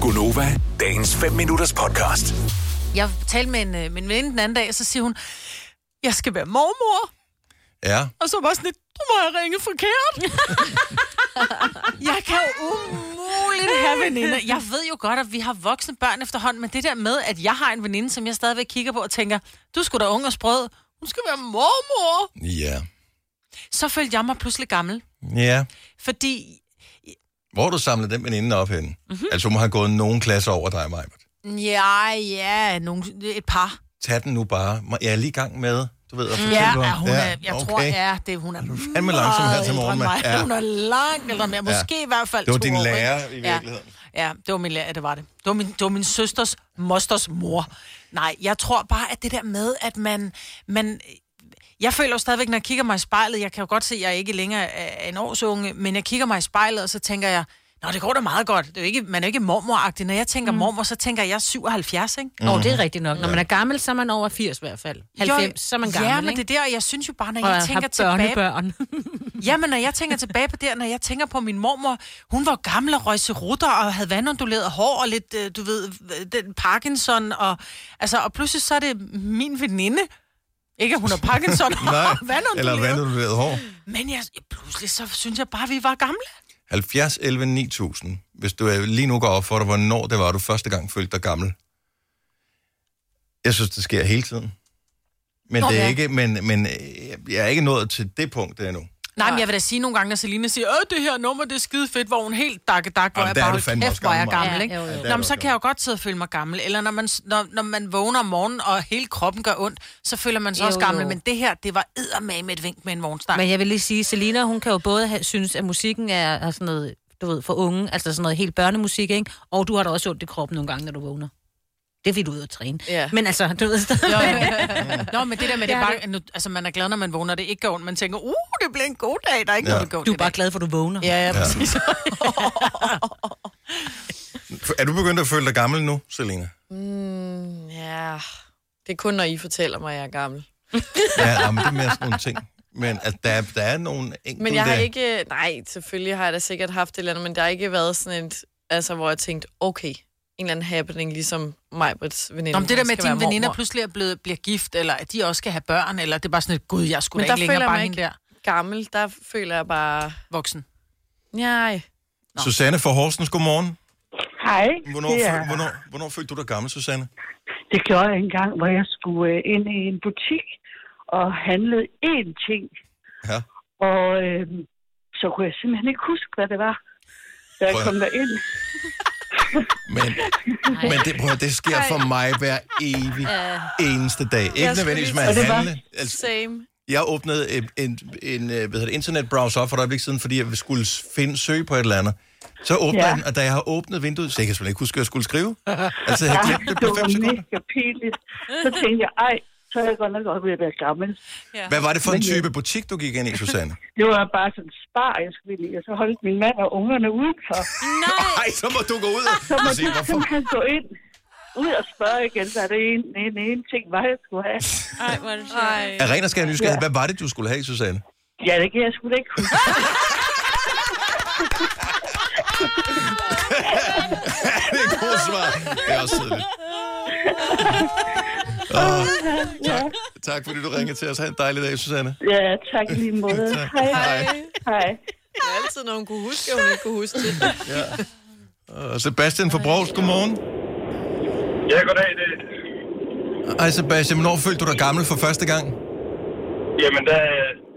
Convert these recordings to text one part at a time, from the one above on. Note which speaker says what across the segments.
Speaker 1: Gunova, dagens 5 minutters podcast.
Speaker 2: Jeg talte med en, øh, min veninde den anden dag, og så siger hun, jeg skal være mormor.
Speaker 3: Ja.
Speaker 2: Og så var jeg sådan lidt, du må have ringet forkert. jeg kan jo umuligt have veninder. Jeg ved jo godt, at vi har voksne børn efterhånden, men det der med, at jeg har en veninde, som jeg stadigvæk kigger på og tænker, du skulle da ung og sprød. Hun skal være mormor.
Speaker 3: Ja.
Speaker 2: Så følte jeg mig pludselig gammel.
Speaker 3: Ja.
Speaker 2: Fordi
Speaker 3: Hvor har du samlet den veninde op henne?
Speaker 2: Mhm.
Speaker 3: Mm-hmm. Altså, hun har gået nogen klasser over dig, Maja.
Speaker 2: Ja, ja, nogle, et par.
Speaker 3: Tag den nu bare. Må- Jeg er lige i gang med, du ved, at
Speaker 2: Mm. Ja,
Speaker 3: fortælle
Speaker 2: ja, hun er, jeg
Speaker 3: okay.
Speaker 2: tror, ja, det, hun er
Speaker 3: fandme langsom her til morgen, mand.
Speaker 2: Ja.
Speaker 3: Ja.
Speaker 2: Hun er langt eller mere, måske i hvert fald
Speaker 3: Det var
Speaker 2: to
Speaker 3: din
Speaker 2: år,
Speaker 3: lærer
Speaker 2: ikke?
Speaker 3: i virkeligheden.
Speaker 2: Ja. ja, det var min lærer, ja, det var det. Det var min, det var min søsters mosters mor. Nej, jeg tror bare, at det der med, at man... man jeg føler jo stadigvæk, når jeg kigger mig i spejlet, jeg kan jo godt se, at jeg ikke længere er en årsunge, men jeg kigger mig i spejlet, og så tænker jeg, Nå, det går da meget godt. Det er jo ikke, man er jo ikke mormoragtig. Når jeg tænker mm. mormor, så tænker jeg, jeg er 77, ikke?
Speaker 4: Nå, det er rigtigt nok. Når man er gammel, så er man over 80 i hvert fald. 90, jo, så er man gammel,
Speaker 2: Ja, men
Speaker 4: ikke?
Speaker 2: det er der, og jeg synes jo bare, når
Speaker 4: og
Speaker 2: jeg tænker
Speaker 4: har
Speaker 2: tilbage
Speaker 4: børnebørn.
Speaker 2: Ja, men når jeg tænker tilbage på det, når jeg tænker på min mormor, hun var gammel og røg rutter og havde vandunduleret hår og lidt, øh, du ved, øh, den Parkinson, og, altså, og pludselig så er det min veninde, ikke at hun har Parkinson
Speaker 3: Nej,
Speaker 2: og
Speaker 3: eller
Speaker 2: vandunduleret,
Speaker 3: vandunduleret hår.
Speaker 2: men jeg, pludselig så synes jeg bare, vi var gamle.
Speaker 3: 70, 11, 9000. Hvis du øh, lige nu går op for dig, hvornår det var, du første gang følte dig gammel. Jeg synes, det sker hele tiden. Men, det er
Speaker 2: ja.
Speaker 3: ikke, men, men øh, jeg er ikke nået til det punkt endnu.
Speaker 2: Nej, men jeg vil da sige nogle gange, når Selina siger, øh, det her nummer, det er skide fedt, hvor hun helt dakke dak, hvor
Speaker 3: Jamen,
Speaker 2: jeg
Speaker 3: der er
Speaker 2: bare,
Speaker 3: du
Speaker 2: hold
Speaker 3: fandme også
Speaker 2: kæft, hvor jeg er
Speaker 3: gammel,
Speaker 2: gammel,
Speaker 4: Maja.
Speaker 2: ikke?
Speaker 4: Ja, jo, jo.
Speaker 3: Ja, der er
Speaker 2: Nå,
Speaker 3: du
Speaker 2: men så
Speaker 3: også
Speaker 2: kan jeg jo godt sidde og føle mig gammel. Eller når man, når, når man vågner om morgenen, og hele kroppen gør ondt, så føler man sig
Speaker 4: Jo,
Speaker 2: også gammel.
Speaker 4: jo.
Speaker 2: Men det her, det var eddermame et vink med en vognstang.
Speaker 4: Men jeg vil lige sige, Selina, hun kan jo både have, synes, at musikken er, er sådan noget, du ved, for unge, altså sådan noget helt børnemusik, ikke? Og du har da også ondt i kroppen nogle gange, når du vågner. Det er fordi, du er ude at træne.
Speaker 5: Ja.
Speaker 4: Men altså, du ved stadig.
Speaker 2: Jo, jo. Nå, men det der med, det
Speaker 4: Ja,
Speaker 2: er bare, nu, altså man er glad, når man vågner, det er ikke gør ondt. Man tænker, uh, det bliver en god dag, der er ikke
Speaker 3: Ja.
Speaker 2: ja. noget, der gør ondt
Speaker 4: Du
Speaker 2: i
Speaker 4: er bare
Speaker 2: dag.
Speaker 4: glad for, at du vågner.
Speaker 2: Ja, ja, præcis.
Speaker 3: Er du begyndt at føle dig gammel nu, Selina?
Speaker 5: Ja, det er kun, når I fortæller mig, at jeg er gammel.
Speaker 3: Ja, ja, men det er mere sådan nogle ting. Men altså, der, er- der er nogle enkelte...
Speaker 5: Men jeg har ikke... øh, Nej, selvfølgelig har jeg da sikkert haft et eller andet, men der har ikke været sådan et... Altså, hvor jeg tænkte, okay, en eller anden happening, ligesom Majbrits veninde.
Speaker 2: Nå, men det der
Speaker 5: der
Speaker 2: med, at
Speaker 5: skal være
Speaker 2: dine veninder
Speaker 5: mormor.
Speaker 2: pludselig er blevet, bliver gift, eller at de også skal have børn, eller det er bare sådan et, gud, jeg skulle
Speaker 5: Men
Speaker 2: da
Speaker 5: der
Speaker 2: ikke længere
Speaker 5: føler jeg
Speaker 2: bare
Speaker 5: mig
Speaker 2: hende der.
Speaker 5: Gammel, der føler jeg bare...
Speaker 2: Voksen.
Speaker 5: Nej.
Speaker 3: Susanne fra Horsens, godmorgen.
Speaker 6: Hej.
Speaker 3: Hvornår,
Speaker 6: det,
Speaker 3: ja.
Speaker 6: er,
Speaker 3: føl, hvornår, hvornår følte du dig gammel, Susanne?
Speaker 6: det gjorde jeg en gang, hvor jeg skulle øh, ind i en butik og handlede én ting.
Speaker 3: Ja.
Speaker 6: Og øh, så kunne jeg simpelthen ikke huske, hvad det var, da jeg
Speaker 3: Prøv at-
Speaker 6: kom derind.
Speaker 3: Men, men det, prøv, at- det sker for mig hver evig eneste dag. Ikke
Speaker 5: Jeg
Speaker 3: nødvendigvis med
Speaker 5: skulle
Speaker 3: at
Speaker 6: lige- Og det var-
Speaker 3: handle. Altså,
Speaker 5: Same.
Speaker 3: jeg åbnede en, en, en øh, hvad hedder det, internetbrowser op for et øjeblik siden, fordi jeg skulle finde søge på et eller andet. Så åbner
Speaker 6: Ja.
Speaker 3: ja. den, og da jeg har åbnet vinduet, så jeg kan simpelthen ikke huske, at jeg skulle skrive. Altså, jeg
Speaker 6: Ja,
Speaker 3: har glemt det
Speaker 6: det
Speaker 3: på
Speaker 6: var
Speaker 3: fem sekunder.
Speaker 6: mega pinligt. Så tænkte jeg, ej, så er jeg godt nok også ved at være gammel.
Speaker 3: Hvad var det for en
Speaker 6: Men, øh,
Speaker 3: type butik, du gik ind i, Susanne?
Speaker 6: Det var bare sådan en spar, jeg skulle ind i, og så holdt min mand og ungerne udenfor.
Speaker 3: Nej, så må du gå ud
Speaker 6: Så
Speaker 3: og, og
Speaker 6: måtte
Speaker 3: se,
Speaker 6: jeg
Speaker 3: hvorfor
Speaker 6: simpelthen gå ind, ud og spørge igen, hvad det en, en, en ting var, jeg skulle have.
Speaker 5: Ej, hvor er det sjovt.
Speaker 3: Af ren og skær nysgerrighed,
Speaker 6: Ja.
Speaker 3: hvad var det, du skulle have, Susanne?
Speaker 6: Ja, det kan jeg sgu da ikke huske.
Speaker 3: det er et godt svar. Det er også tidligt. Åh, tak, tak fordi du ringede til os. Ha' en dejlig dag, Susanne.
Speaker 6: Ja, tak i lige måde.
Speaker 3: Tak.
Speaker 6: Hej.
Speaker 3: Hej.
Speaker 6: Hej.
Speaker 5: Det er altid, når hun kunne huske, og hun ikke kunne huske det.
Speaker 3: Og Sebastian fra Brogs, godmorgen.
Speaker 7: Ja, goddag. Det...
Speaker 3: Hej Sebastian, hvornår følte du dig gammel for første gang?
Speaker 7: Jamen, der,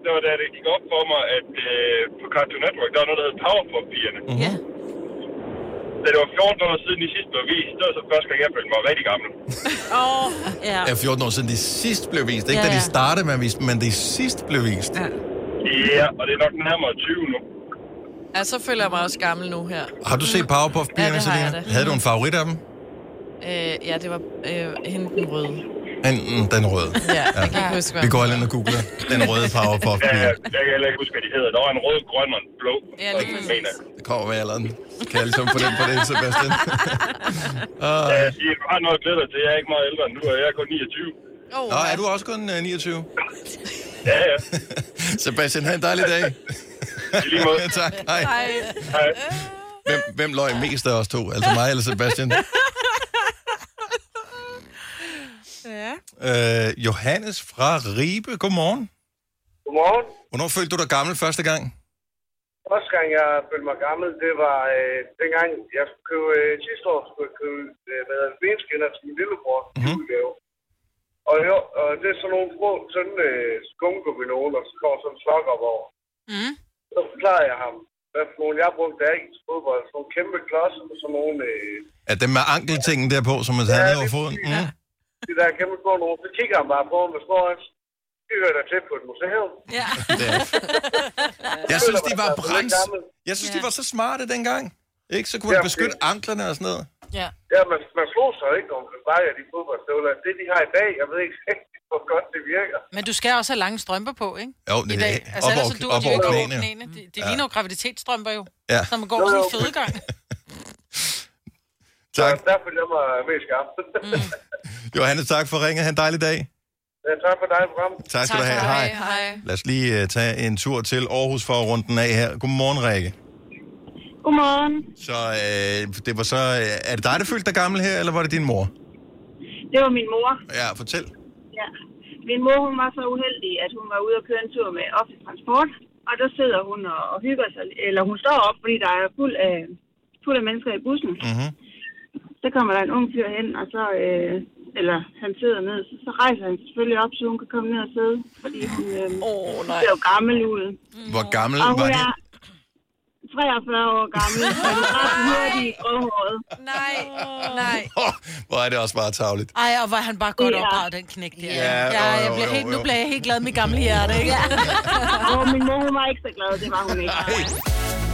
Speaker 7: det var da det gik op for mig, at øh, på Cartoon Network, der var noget, der hed Power for pigerne.
Speaker 5: Mhm.
Speaker 4: Ja.
Speaker 7: Da det var 14 år siden, de sidste blev vist, det var så første gang, jeg følte mig rigtig gammel.
Speaker 4: ja.
Speaker 3: Ja, 14 år siden de sidst blev vist. Ikke
Speaker 4: Ja,
Speaker 3: da de
Speaker 4: ja.
Speaker 3: startede med at vise dem, men de sidst blev vist.
Speaker 7: Ja, og det er nok nærmere 20 nu.
Speaker 5: Ja, så føler jeg mig også gammel nu her.
Speaker 3: Har du set Powerpuff Pigerne,
Speaker 5: Ja, det har jeg
Speaker 3: Selina?
Speaker 5: da.
Speaker 3: Havde du en favorit af dem?
Speaker 5: Øh, ja, det var øh, hende den røde.
Speaker 3: Enten mm, den røde.
Speaker 5: Ja, jeg kan ikke huske, hvad
Speaker 3: Vi går alle ind og googler den røde Powerpuff
Speaker 7: Ja,
Speaker 3: Piger.
Speaker 7: jeg, jeg kan heller ikke huske, hvad de hedder. Der var en rød, grøn og en blå.
Speaker 5: Ja,
Speaker 7: og
Speaker 5: lige
Speaker 7: en
Speaker 5: præcis.
Speaker 7: mener.
Speaker 3: Det kommer med alderen. Kan jeg ligesom få den på det, Sebastian?
Speaker 7: Ja, jeg siger, du har noget at glæde dig til. Jeg er ikke meget ældre end du, og jeg er kun 29.
Speaker 5: Oh,
Speaker 3: Nå, er du også kun øh, 29?
Speaker 7: Ja, ja.
Speaker 3: Sebastian, have en dejlig dag.
Speaker 7: I lige måde.
Speaker 3: tak, hej.
Speaker 5: Hej.
Speaker 7: Hej.
Speaker 3: Hvem, hvem løg mest af os to? Altså mig eller Sebastian?
Speaker 2: Ja.
Speaker 3: Øh, Johannes fra Ribe, godmorgen.
Speaker 7: Godmorgen.
Speaker 3: Hvornår følte du dig gammel første gang?
Speaker 7: Første gang, jeg følte mig gammel, det var øh, dengang, jeg skulle købe øh, sidste år, skulle jeg købe øh, hvad hedder det, benskinner til min lillebror
Speaker 3: Mhm.
Speaker 7: mm-hmm. julegave. Og, jo, og det er sådan nogle små, tynde øh, skumgumminoler, så kommer sådan en slok op over.
Speaker 3: Mhm.
Speaker 2: Mm.
Speaker 7: Så forklarede jeg ham, hvad for nogle jeg brugte af i til fodbold. Sådan nogle kæmpe klodser og sådan nogle... Øh,
Speaker 3: At dem med ankeltingen der på, som man havde ned over foden? Mm.
Speaker 7: de der kæmpe store nogle, så kigger han bare på mig med små øjne. Det hører da til på et museum.
Speaker 2: Ja.
Speaker 3: Det er. Jeg synes, de var brænds. Jeg synes, de var så smarte dengang. Ikke? Så kunne man
Speaker 7: Ja,
Speaker 3: beskytte anklerne og sådan noget.
Speaker 2: ja.
Speaker 7: Ja, man, man slog sig ikke om Kabaja, de fodboldstøvler. Det, de har i dag, jeg ved ikke rigtig, hvor godt det virker.
Speaker 2: Men du skal også have lange strømper på, ikke?
Speaker 3: Jo, det
Speaker 2: I
Speaker 3: er
Speaker 2: dag. Altså,
Speaker 3: op
Speaker 2: ellers
Speaker 3: over-
Speaker 2: så duer
Speaker 3: op
Speaker 2: de jo
Speaker 3: over
Speaker 2: ikke
Speaker 3: knæene.
Speaker 2: knæene. De, de ligner jo graviditetsstrømper jo.
Speaker 3: Ja.
Speaker 2: Når man går
Speaker 7: Jo,
Speaker 2: sådan en
Speaker 7: jo.
Speaker 2: fødegang.
Speaker 3: Tak.
Speaker 7: Så der følte jeg mig mest skarp. Mm.
Speaker 3: Johannes, tak for ringet. Ha' en dejlig dag.
Speaker 7: ja, tak for dig, program.
Speaker 3: Tak skal du have. Hej. Lad os lige uh, tage en tur til Aarhus for at runde den af her. Godmorgen, Rikke.
Speaker 6: Godmorgen.
Speaker 3: Så øh, det var så... Øh, er det dig, der følte dig gammel her, eller var det din mor?
Speaker 6: Det var min mor.
Speaker 3: Ja, fortæl.
Speaker 6: Ja. Min mor hun var så uheldig, at hun var ude og køre en tur med offentlig transport, og der sidder hun og, og hygger sig, eller hun står op, fordi der er fuld af, fuld af mennesker i bussen.
Speaker 3: Mhm.
Speaker 6: Så kommer der en ung fyr hen, og så, øh, eller han sidder ned, så, så rejser han sig selvfølgelig op, så hun kan komme ned og sidde, fordi hun øh,
Speaker 5: Åh, oh, nej.
Speaker 6: ser jo gammel ud.
Speaker 3: Hvor gammel
Speaker 6: Og
Speaker 3: var
Speaker 6: hun
Speaker 3: det?
Speaker 6: er 43 år gammel, og hun er ret hurtig i gråhåret.
Speaker 5: Nej, nej.
Speaker 3: Oh, hvor er det også bare tavligt.
Speaker 2: Ej, og var han bare godt
Speaker 6: Ja.
Speaker 2: opdraget, den knæk der.
Speaker 3: Ja,
Speaker 2: ja
Speaker 3: jo,
Speaker 2: jeg
Speaker 3: jo,
Speaker 2: bliver
Speaker 3: jo,
Speaker 2: helt,
Speaker 3: jo.
Speaker 2: nu bliver jeg helt glad med mit gamle hjerte, ikke? Ja.
Speaker 6: Og min mor hun var ikke så glad, det var hun ikke.